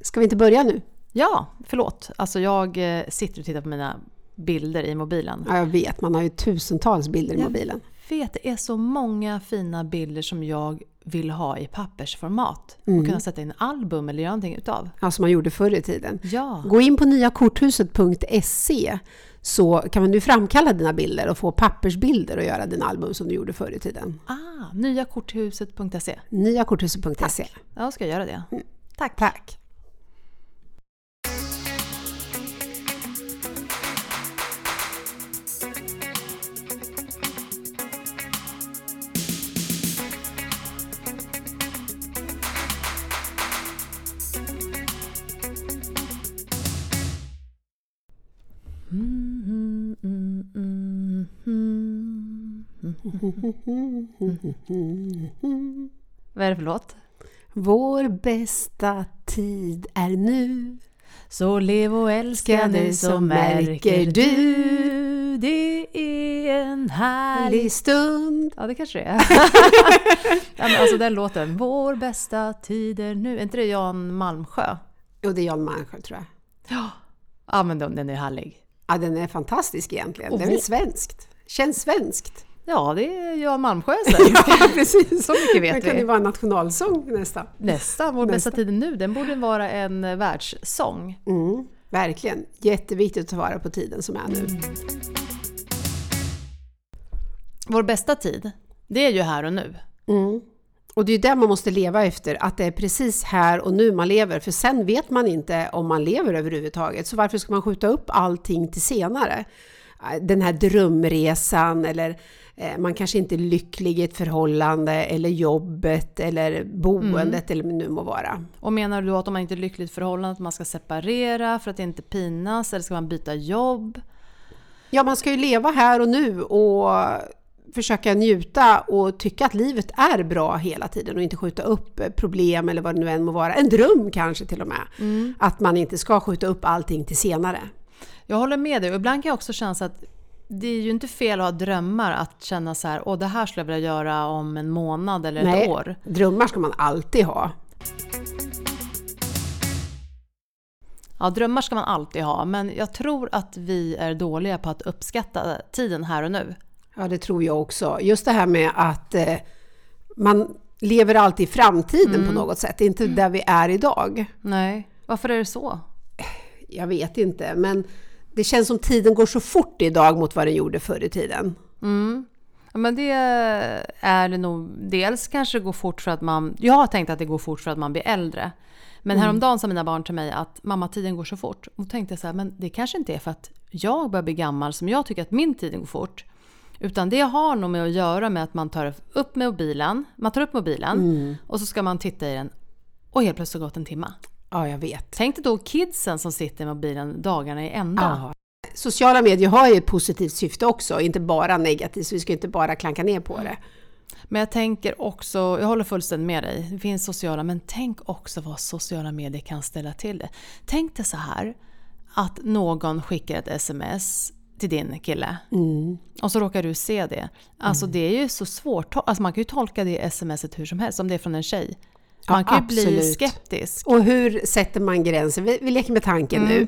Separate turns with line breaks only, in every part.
Ska vi inte börja nu?
Ja, förlåt. Alltså jag eh, sitter och tittar på mina bilder i mobilen.
Ja, jag vet. Man har ju tusentals bilder i mobilen.
Vet, det är så många fina bilder som jag vill ha i pappersformat. Och kunna sätta in album eller göra någonting utav.
Ja, som man gjorde förr i tiden.
Ja.
Gå in på nyakorthuset.se så kan man nu framkalla dina bilder och få pappersbilder och göra dina album som du gjorde förr i tiden.
Ah, nyakorthuset.se.
Nyakorthuset.se.
Ja, ska jag göra det. Mm. Tack.
Tack.
Mm, mm, mm, mm. Vad är det för låt?
Mm-hmm. Vår bästa tid är nu.
Så lev och älska dig så märker du Det är en härlig
Härlig stund.
Ja, det kanske det är. ja, men alltså den låten. Vår bästa tid är nu. Är inte det Jan Malmsjö?
Och det är Jan Malmsjö tror jag.
Ja. Ja, men den, den är härlig.
Ja, den är fantastisk egentligen.
Och
det är väl
vår-
svenskt? Känns svenskt?
Ja, det är Jan Malmsjö sen.
Ja, precis.
Så mycket
Den
vet
kan ju
vi.
vara en nationalsång nästan.
Nästan. Vår bästa tid är nu. Den borde vara en eh, världssång.
Mm, verkligen. Jätteviktigt att ta vara på tiden som är nu.
Vår bästa tid, det är ju här och nu.
Och det är ju det man måste leva efter, att det är precis här och nu man lever. För sen vet man inte om man lever överhuvudtaget. Så varför ska man skjuta upp allting till senare? Äh, Den här drömresan eller eh, man kanske inte är lycklig i ett förhållande eller jobbet eller
Mm.
boendet eller vad det nu må vara.
Och menar du att om man inte är lyckligt förhållande att man ska separera för att inte pinas eller ska man byta jobb?
Ja, man ska ju leva här och nu och försöka njuta och tycka att livet är bra hela tiden och inte skjuta upp problem eller vad det nu än må vara. En dröm kanske till och med.
Mm.
Att man inte ska skjuta upp allting till senare.
Jag håller med dig och ibland kan jag också känna så att det är ju inte fel att ha drömmar att känna så här, åh det här skulle jag vilja göra om en månad eller ett år.
drömmar ska man alltid ha.
Ja, drömmar ska man alltid ha, men jag tror att vi är dåliga på att uppskatta tiden här och nu.
Ja, det tror jag också. Just det här med att eh, man lever alltid i framtiden
Mm.
på något sätt. Det är inte där vi är idag.
Nej, varför är det så?
Jag vet inte, men det känns som tiden går så fort idag mot vad den gjorde förr i tiden.
Ja, men det är det nog. Dels kanske det går fort för att man... Jag har tänkt att det går fort för att man blir äldre. Men häromdagen sa mina barn till mig att mamma tiden går så fort. Och då tänkte jag så här, men det kanske inte är för att jag börjar bli gammal som jag tycker att min tiden går fort. Utan det har nog med att göra med att man tar upp mobilen, man tar upp mobilen och så ska man titta i den och helt plötsligt har gått en timma.
Ja, jag vet.
Tänk dig då kidsen som sitter med mobilen dagarna i ända.
Ja. Sociala medier har ju ett positivt syfte också, inte bara negativt, så vi ska inte bara klanka ner på det.
Men jag tänker också, jag håller fullständigt med dig, det finns sociala, men tänk också vad sociala medier kan ställa till det. Tänk dig så här, att någon skickar ett sms till din kille
Mm.
och så råkar du se det. Alltså det är ju så svårt, alltså man kan ju tolka det smset hur som helst, om det är från en tjej. Man
Ja,
kan ju bli
absolut.
skeptisk.
Och hur sätter man gränsen? Vi, vi leker med tanken nu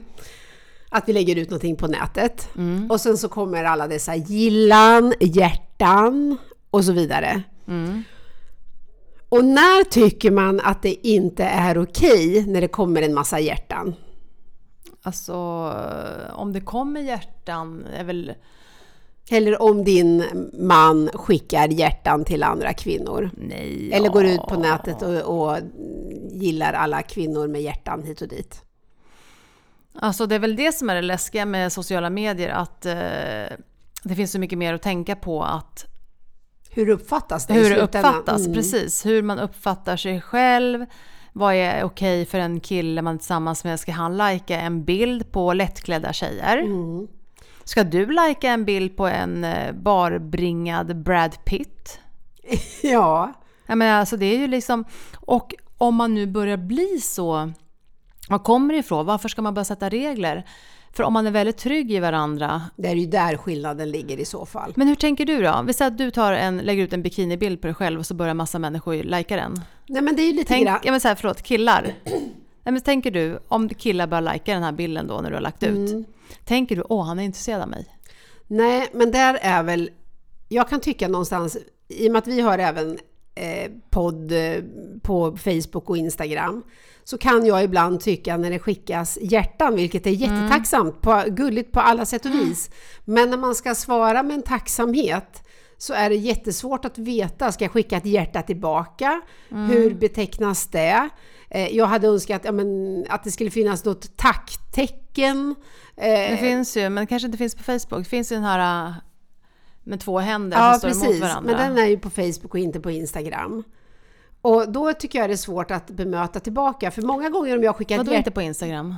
att vi lägger ut någonting på nätet och sen så kommer alla dessa gillan, hjärtan och så vidare. Och när tycker man att det inte är okej när det kommer en massa hjärtan?
Alltså om det kommer hjärtan är väl...
Eller om din man skickar hjärtan till andra kvinnor?
Nej.
Eller
ja.
går ut på nätet och, och gillar alla kvinnor med hjärtan hit och dit.
Alltså det är väl det som är det läskiga med sociala medier att eh, det finns så mycket mer att tänka på att
Hur uppfattas det i
hur det
slutändan?
uppfattas,
Mm.
precis, hur man uppfattar sig själv. Vad är okej för en kille man är tillsammans med? Ska han lajka en bild på lättklädda tjejer?
Mm.
Ska du lajka en bild på en eh, barbringad Brad Pitt?
Ja,
Jag menar, alltså det är ju liksom... Och om man nu börjar bli så... Var kommer det ifrån? Varför ska man börja sätta regler? För om man är väldigt trygg i varandra
det är ju där skillnaden ligger i så fall.
Men hur tänker du då? Vi säger att du tar en, lägger ut en bikinibild på dig själv och så börjar massa människor lajka den.
Nej men det är ju lite
Tänk,
grann...
ja men så här, förlåt, killar. Nej, men tänker du, om killar börjar lajka den här bilden då när du har lagt
Mm.
ut. Tänker du, åh han är intresserad av mig.
Nej, men där är väl... Jag kan tycka någonstans, i och med att vi har även eh, podd eh, på Facebook och Instagram, så kan jag ibland tycka när det skickas hjärtan, vilket är jättetacksamt, på, gulligt på alla sätt och vis. Men när man ska svara med en tacksamhet så är det jättesvårt att veta, ska jag skicka ett hjärta tillbaka? Hur betecknas det? Eh, Jag hade önskat ja, men, att det skulle finnas något tacktecken. Eh,
Det finns ju, men det kanske inte finns på Facebook. Det finns ju den här äh, med två händer som står emot varandra.
men den är ju på Facebook och inte på Instagram. Och då tycker jag det är svårt att bemöta tillbaka, för många gånger om jag skickar ett
Vadå
hjärta,
inte på Instagram?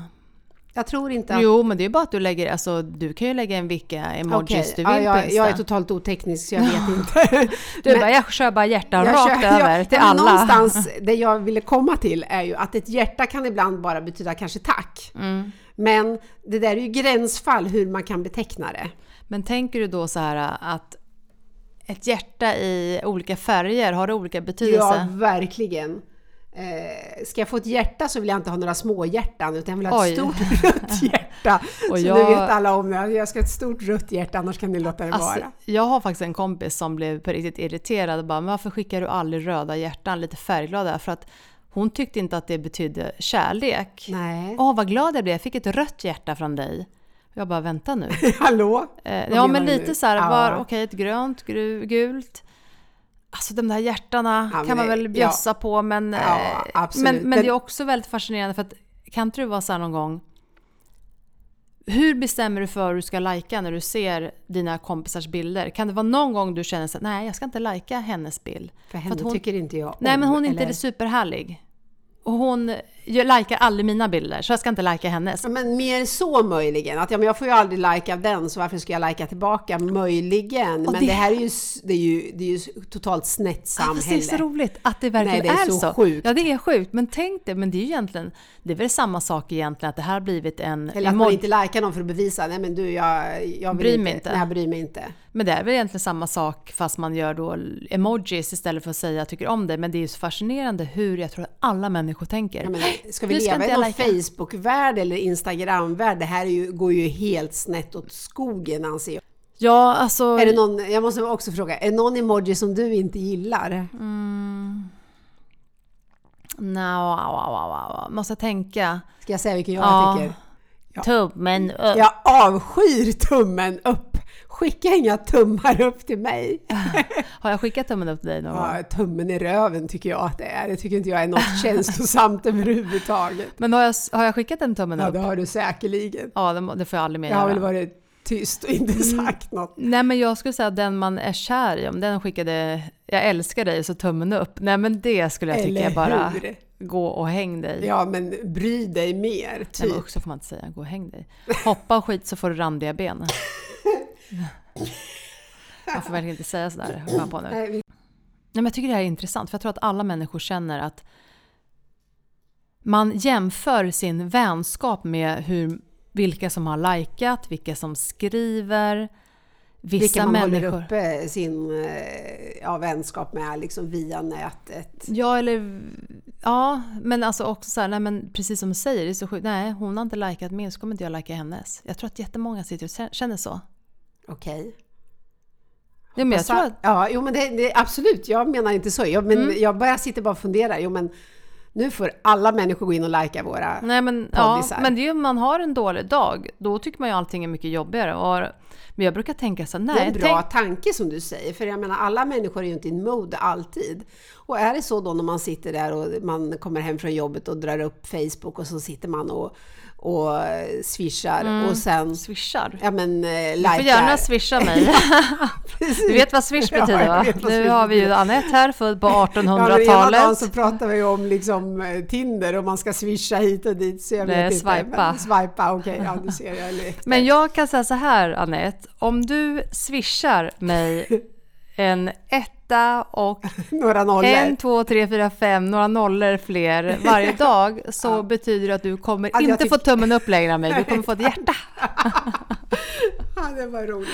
jag tror inte att...
Jo, men det är ju bara att du lägger, alltså du kan ju lägga in vilka
Okej,
emojis du
ja,
vill på
jag,
Insta.
jag är totalt oteknisk så jag vet inte.
du bara, jag kör bara hjärtan
Jag
rakt
kör-
över
jag,
till
ja, men
alla.
Någonstans, det jag ville komma till är ju att ett hjärta kan ibland bara betyda kanske tack.
Mm.
Men det där är ju gränsfall hur man kan beteckna det.
Men tänker du då så här äh, att ett hjärta i olika färger, har det olika
Ja,
betydelse?
verkligen. Eh, ska jag få ett hjärta så vill jag inte ha några små hjärtan utan jag vill ha ett
Oj.
stort rött hjärta.
Och
så
jag-
nu vet alla om det. Jag ska ha ett stort rött hjärta annars kan ni låta det
Alltså,
vara.
jag har faktiskt en kompis som blev på riktigt irriterad och bara, men varför skickar du aldrig röda hjärtan, lite färgglada? För att hon tyckte inte att det betydde kärlek.
Nej.
Åh, vad glad jag blev. Jag fick ett rött hjärta från dig. Jag bara, vänta nu.
Hallå?
Eh,
Vad
ja,
menar
men
du
lite
nu?
så här,
Ja.
var, okej, ett grönt, gru, gult. Alltså de där hjärtana
Ja, men
kan man
det-
väl bjössa på, men, eh,
Ja, absolut.
men, men
Den-
det är också väldigt fascinerande för att kan inte du vara så här någon gång, hur bestämmer du för hur du ska lajka när du ser dina kompisars bilder? Kan det vara någon gång du känner så här, nej jag ska inte lajka hennes bild.
För
att
henne
hon-
tycker inte jag om.
Nej men hon är inte
eller-
superhärlig. Och hon jag likar aldrig mina bilder så jag ska inte lajka hennes.
Ja, men mer så möjligen. Att ja, men jag får ju aldrig like av den så varför ska jag likea tillbaka? Möjligen. Men det...
det-
här är ju, s- det är ju, det är ju s- totalt snett
Ja,
samhälle.
fast det är så roligt att det verkligen
Nej, det är så sjukt.
Ja, det är sjukt. Men tänk det, men det är ju egentligen, det är väl samma sak egentligen att det här har blivit
Eller
en...
att
imorgon-
man inte likar någon för att bevisa, nej men du jag, jag vill
Bryr
inte.
mig inte.
Nej, jag bryr mig inte.
Men det är väl egentligen samma sak fast man gör då emojis istället för att säga jag tycker om dig. Men det är ju så fascinerande hur jag tror att alla människor tänker.
Jag menar, ska
Nu
vi
ska
leva
inte
i
jag
någon
lajka.
Facebook-värld eller Instagram-värld? Det här är ju, går ju helt snett åt skogen anser jag.
Ja, alltså...
Är det någon, jag måste också fråga, är det någon emoji som du inte gillar?
Mm. Nja, wow, wow, wow, wow. måste jag tänka.
Ska jag säga vilken jag
Ja.
tycker? Ja.
Tummen upp.
Jag avskyr tummen upp! Skicka inga tummar upp till mig!
Har jag skickat tummen upp till dig någon gång?
Ja, tummen i röven tycker jag att det är. Det tycker inte jag är något känslosamt överhuvudtaget.
Men har jag, har jag skickat en tummen
Ja,
upp?
det har du säkerligen.
Ja, det, må- det får jag aldrig mer
Jag har
göra. Mm.
väl varit tyst och inte sagt något.
Nej men jag skulle säga att den man är kär i, om den skickade “jag älskar dig” och så tummen upp. Nej men det skulle jag tycka
Eller
är bara
hur?
“gå och häng dig”.
Ja, men bry dig mer.
Nej
Typ.
men också får man inte säga “gå och häng dig”. Hoppa och skit så får du randiga ben. Man får verkligen inte säga sådär, kom jag på nu. Nej
Nej, vi-
men jag tycker det här är intressant för jag tror att alla människor känner att man jämför sin vänskap med hur, vilka som har likat, vilka som skriver. Vissa
Vilka man
människor.
håller uppe sin eh, ja, vänskap med liksom via nätet.
Ja, eller... Ja, men alltså också så här, nej men precis som du säger, det är så sjukt. Nej, hon har inte likat min så kommer inte jag lika hennes. Jag tror att jättemånga sitter och kä- känner så.
Okej.
Ja, men jag
Alltså,
tror att, Mm.
Ja, jo men det, det, absolut, jag menar inte så. Jag, men jag bara sitter bara och funderar. Jo men nu får alla människor gå in och likea våra...
nej men, ja,
poddisar.
men det är ju om man har en dålig dag, då tycker man ju allting är mycket jobbigare. Och, men jag brukar tänka så här,
Det är
nej,
en bra
tänk,
tanke som du säger, för jag menar alla människor är ju inte i mode alltid. Och är det så då när man sitter där och man kommer hem från jobbet och drar upp Facebook och så sitter man och, och eh, swishar och sen
swishar.
ja, men, eh,
Mm. Du får gärna
likar.
swisha mig. Du vet vad swish
Ja, jag
betyder va?
vet vad
Nu
swish
har vi ju
betyder.
Anette här, född på
Ja, men ena dagen
1800-talet.
så pratar vi om liksom eh, Tinder och man ska swisha hit och dit. Så jag
Nej,
vet inte.
swipa.
Men, swipa, okej. ja, du ser. Jag är lite-
Men jag kan säga så här Anette, om du swishar mig en etta och
Några nollor.
en, två, tre, fyra, fem, några nollor fler varje dag så betyder det att du kommer
Att Alltså, jag
inte få
tycker-
tummen upp längre av mig, du kommer få ett hjärta.
Ja, det var roligt.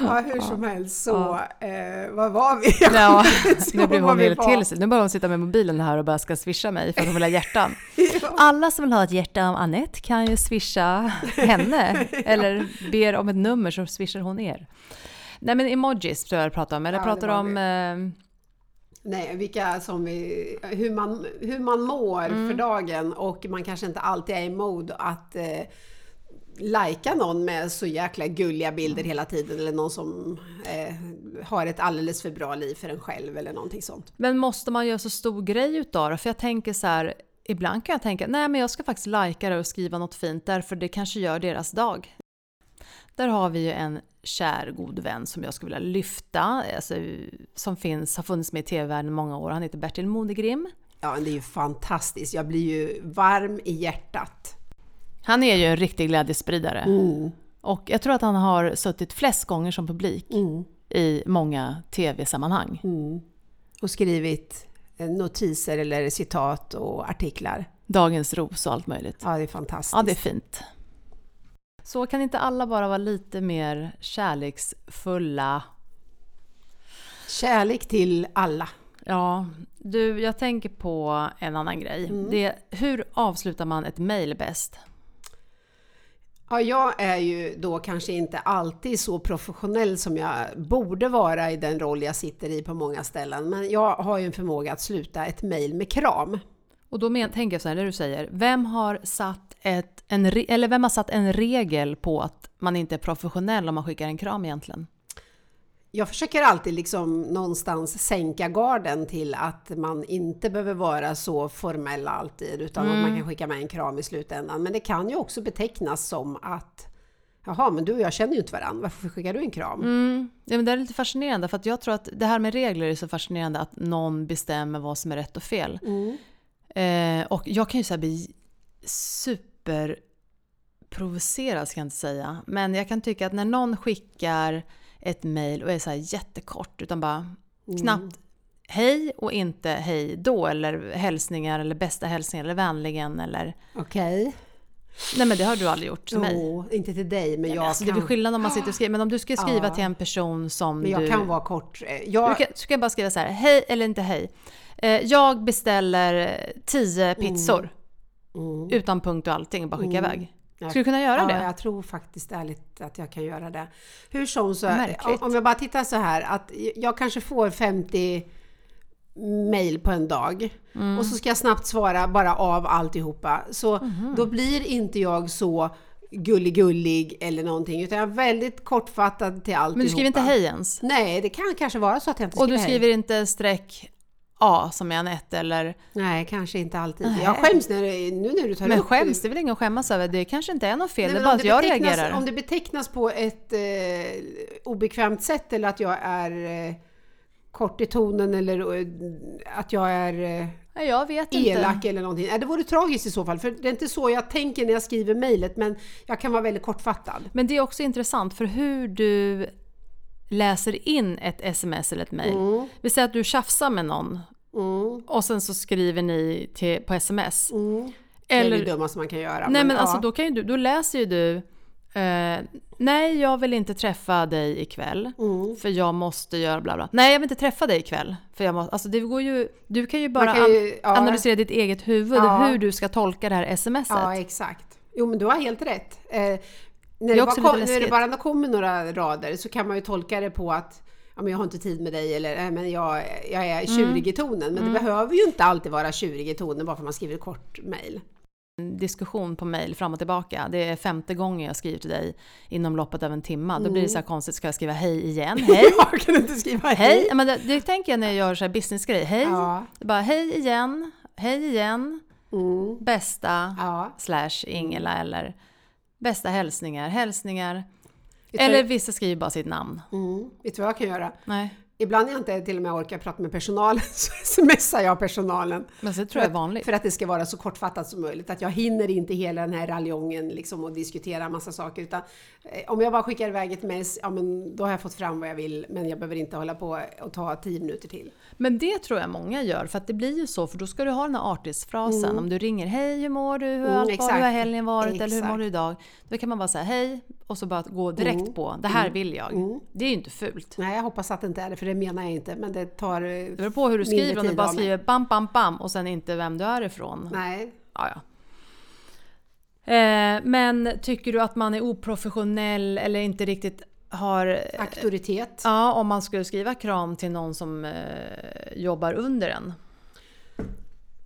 Ja, hur som helst så, eh, vad var vi?
Ja, nu
vad
blir
var
hon
vi
helt
var?
till sig. Nu börjar hon sitta med mobilen här och bara ska swisha mig för att hon vill ha hjärtan. Alla som vill ha ett hjärta av Annette kan ju swisha henne. Eller ber om ett nummer så swishar hon er. Nej men emojis tror jag jag pratar om. Eller
Ja, det
pratar
var
om... Eh,
Nej, vilka som vi, hur, man, hur man mår för dagen och man kanske inte alltid är i mode att eh, lajka någon med så jäkla gulliga bilder hela tiden eller någon som eh, har ett alldeles för bra liv för en själv eller någonting sånt.
men måste man göra så stor grej utav det? För jag tänker så här... Ibland kan jag tänka nej men jag ska faktiskt lajka det och skriva något fint därför det kanske gör deras dag. Där har vi ju en kär god vän som jag skulle vilja lyfta, alltså, som finns, har funnits med i tv-världen i många år. Han heter Bertil Monegrim.
Ja, men det är ju fantastiskt. Jag blir ju varm i hjärtat.
Han är ju en riktig glädjespridare.
Mm,
Och jag tror att han har suttit flest gånger som publik
mm.
i många tv-sammanhang.
Och skrivit eh, notiser eller citat och artiklar.
Dagens ros och allt möjligt.
Ja, det är fantastiskt.
Ja, det är fint. Så kan inte alla bara vara lite mer kärleksfulla?
Kärlek till alla.
Ja, du, jag tänker på en annan grej. Det, hur avslutar man ett mejl bäst?
Ja, jag är ju då kanske inte alltid så professionell som jag borde vara i den roll jag sitter i på många ställen. Men jag har ju en förmåga att sluta ett mejl med kram.
Och då men, tänker jag så här, när du säger, vem har satt ett, en, re- eller vem har satt en regel på att man inte är professionell om man skickar en kram egentligen?
Jag försöker alltid liksom någonstans sänka garden till att man inte behöver vara så formell alltid utan
Mm.
att man kan skicka med en kram i slutändan. Men det kan ju också betecknas som att Jaha, men du och jag känner ju inte varandra. Varför skickar du en kram?
Mm. Ja, men det är lite fascinerande för att jag tror att det här med regler är så fascinerande att någon bestämmer vad som är rätt och fel. Eh, och jag kan ju så här bli superprovocerad ska jag inte säga. Men jag kan tycka att när någon skickar ett mail och är så här jättekort utan bara
Mm.
knappt hej och inte hej då eller hälsningar eller bästa hälsningar eller vänligen eller
Okej.
nej men det har du aldrig gjort till mig.
Jo, inte till dig, men jag
Alltså, det blir
kan...
skillnad om man sitter och skriver, men om du ska skriva till en person som
Men jag
du...
kan vara kort. Eh, Jag,
Du kan, du kan bara skriva så här, hej eller inte hej. Eh, jag beställer 10 pizzor.
Mm.
Utan punkt och allting och bara skicka iväg.
Ja.
Skulle du kunna göra
ja,
det?
jag tror faktiskt ärligt att jag kan göra det. Hur som så,
Märkligt.
om jag bara tittar så här att jag kanske får 50 mail på en dag
Mm.
och så ska jag snabbt svara bara av alltihopa. Så
Mhm.
då blir inte jag så gullig-gullig eller någonting utan jag är väldigt kortfattad till alltihopa.
Men du skriver inte hej ens?
Nej, det kan kanske vara så att jag inte
Och
skriver
du
hej.
skriver inte streck A som i Anette eller...
Nej, kanske inte alltid. Jag skäms när, det- nu när du tar
Men
upp
skäms, det är väl ingen att skämmas över? Det kanske inte är något fel,
Nej,
det är
men
bara
om
att jag
betecknas-
reagerar.
Om det betecknas på ett eh, obekvämt sätt eller att jag är eh, kort i tonen eller eh, att jag är eh,
Nej, jag vet inte.
elak eller någonting. Nej, det vore tragiskt i så fall för det är inte så jag tänker när jag skriver mejlet men jag kan vara väldigt kortfattad.
Men det är också intressant för hur du läser in ett sms eller ett mail. Vi säger att du tjafsar med någon
Mm.
och sen så skriver ni till, på sms.
Mm. det är
Eller
det dummaste man kan göra.
Nej men alltså
ja.
då, kan ju du, då läser ju du eh, Nej jag vill inte träffa dig ikväll
Mm.
för jag måste göra bla bla. Nej jag vill inte träffa dig ikväll för jag måste, alltså det går ju, du kan ju bara
kan ju-
an-
ja.
analysera ditt eget huvud
Ja.
hur du ska tolka det här smset.
Ja, exakt. Jo, men du har helt rätt. Eh, när,
är
det
också
bara, kom,
lite
när det
läskigt.
bara kommer några rader så kan man ju tolka det på att ja, men jag har inte tid med dig eller "Nej, men jag, jag
Mm.
är tjurig i tonen. Men det behöver ju inte alltid vara tjurig i tonen bara för att man skriver ett kort mejl.
En diskussion på mail fram och tillbaka, det är femte gången jag skriver till dig inom loppet av en timme. Då blir det så
Mm.
här konstigt, ska jag skriva hej igen? Hej?
Jag kan inte skriva
hej? Ja, Men det, det tänker jag när jag gör så här businessgrej. Hej!
Ja.
Det är Bara hej igen, hej igen,
Mm.
bästa.
Ja.
slash Ingela eller bästa hälsningar, hälsningar.
Vet du-
Eller vissa skriver bara sitt namn.
Mm. Vet du vad jag kan göra?
Nej,
Ibland när jag inte till och med orkar prata med personalen så smsar jag personalen.
men så tror jag är vanligt.
För att det ska vara så kortfattat som möjligt. Att jag hinner inte hela den här raljongen liksom och diskutera massa saker. Utan, eh, om jag bara skickar iväg ett mess, ja men då har jag fått fram vad jag vill. Men jag behöver inte hålla på och ta tio minuter till.
Men det tror jag många gör för att det blir ju så för då ska du ha den här artighetsfrasen. Om du ringer hej hur mår du, hur,
Mm,
allt var, hur
exakt.
har helgen varit eller hur mår
Exakt.
du idag? Då kan man bara säga hej och så bara gå direkt på det här vill jag. Det är ju inte fult.
Nej, jag hoppas att det inte är det, för det menar jag inte. Men det tar... eh, Det
Det beror på hur du skriver, om du bara skriver bam, bam, bam och sen inte vem du är ifrån.
Nej.
Ja, ja. Eh, men tycker du att man är oprofessionell eller inte riktigt har...
Auktoritet.
Ja, om man skulle skriva kram till någon som eh, jobbar under en.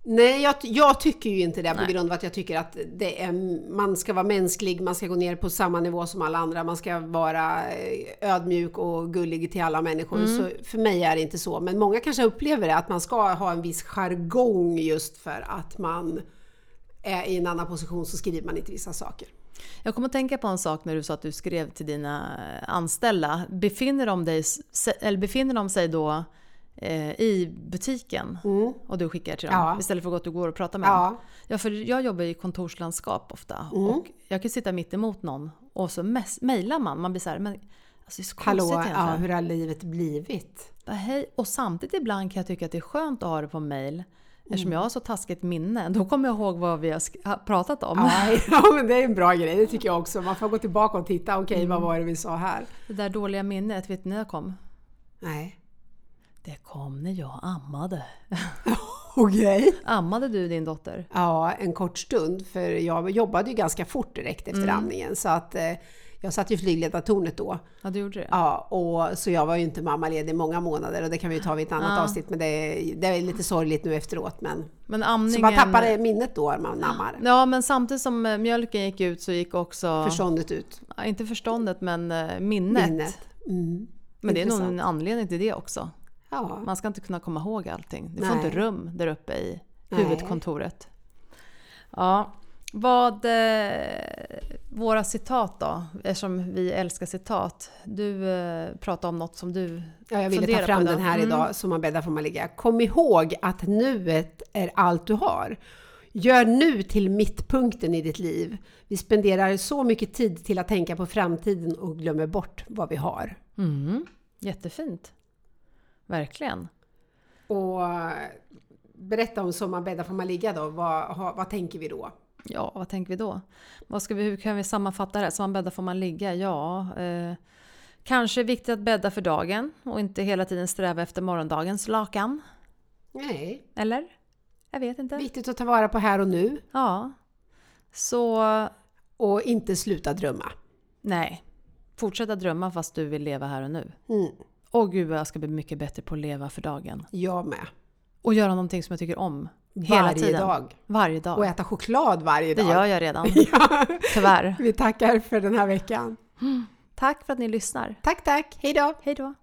Nej, jag, jag tycker ju inte det på grund av att jag tycker att det är, man ska vara mänsklig, man ska gå ner på samma nivå som alla andra, man ska vara eh, ödmjuk och gullig till alla människor. Så för mig är det inte så, men många kanske upplever det, att man ska ha en viss jargong just för att man är i en annan position så skriver man inte vissa saker.
Jag kommer att tänka på en sak när du sa att du skrev till dina eh, anställda. Befinner de, dig, se- eller befinner de sig då eh, i butiken och du skickar till dem
Mm. Ja.
istället för att gå- att du går och pratar med
Ja. Mm.
dem? Ja, för jag jobbar i kontorslandskap ofta och jag kan sitta mitt emot någon och så mess- mejlar man. Man blir så här, men alltså, det är så konstigt
Hallå, ja,
egentligen.
hur har livet blivit?
Bara, Hej. Och samtidigt ibland kan jag tycka att det är skönt att ha det på mejl. Eftersom
Mm.
jag har så taskigt minne, då kommer jag ihåg vad vi har sk- har pratat om.
Nej, ja, men det är en bra grej, det tycker jag också. Man får gå tillbaka och titta, okej vad var det vi sa här?
Det där dåliga minnet, vet ni när jag kom?
Nej.
Det kom när jag ammade.
Okej.
Ammade du din dotter?
Ja, en kort stund. För jag jobbade ju ganska fort direkt efter
Mm.
amningen. Så att eh, jag satt ju i flygledartornet då.
Ja, du gjorde det.
Ja, och, så jag var ju inte mammaledig i många månader och det kan vi ju ta vid ett annat
Ja.
avsnitt. Men det, är- det är lite sorgligt nu efteråt. Men,
Men amningen...
så man tappar minnet då när man ammar.
Ja, men samtidigt som eh, mjölken gick ut så gick också,
Förståndet ut.
ja, inte förståndet, men eh, minnet.
Minnet. Mm.
Men det är nog
Intressant.
en anledning till det också.
Ja.
Man ska inte kunna komma ihåg allting. Du får
Nej.
inte rum där uppe i
Nej.
huvudkontoret. Ja, vad... Eh, våra citat då, eftersom vi älskar citat. Du eh, pratade om något som du
Ja, jag ville ta
funderar
fram
på
den här
Mm.
idag, så man bäddar får man ligga. Kom ihåg att nuet är allt du har. Gör nu till mittpunkten i ditt liv. Vi spenderar så mycket tid till att tänka på framtiden och glömmer bort vad vi har.
Mm. Jättefint. Verkligen.
Och berätta om som man bäddar får man ligga då. Vad, ha- vad tänker vi då?
Ja, vad tänker vi då? Vad ska vi, hur kan vi sammanfatta det här? Som man bäddar får man ligga. Ja, eh, kanske är viktigt att bädda för dagen och inte hela tiden sträva efter morgondagens lakan.
Nej,
Eller? Jag vet inte.
viktigt att ta vara på här och nu
Ja. Så
och inte sluta drömma.
nej, fortsätta drömma fast du vill leva här och nu.
Mm,
Åh gud vad jag ska bli mycket bättre på att leva för dagen.
jag med.
Och göra någonting som jag tycker om. Hela
Varje
tiden.
dag.
Varje dag.
Och äta choklad varje
Det
dag.
gör jag redan,
Ja,
tyvärr.
vi tackar för den här veckan.
Tack för att ni lyssnar.
Tack, tack. Hej då!
Hej då!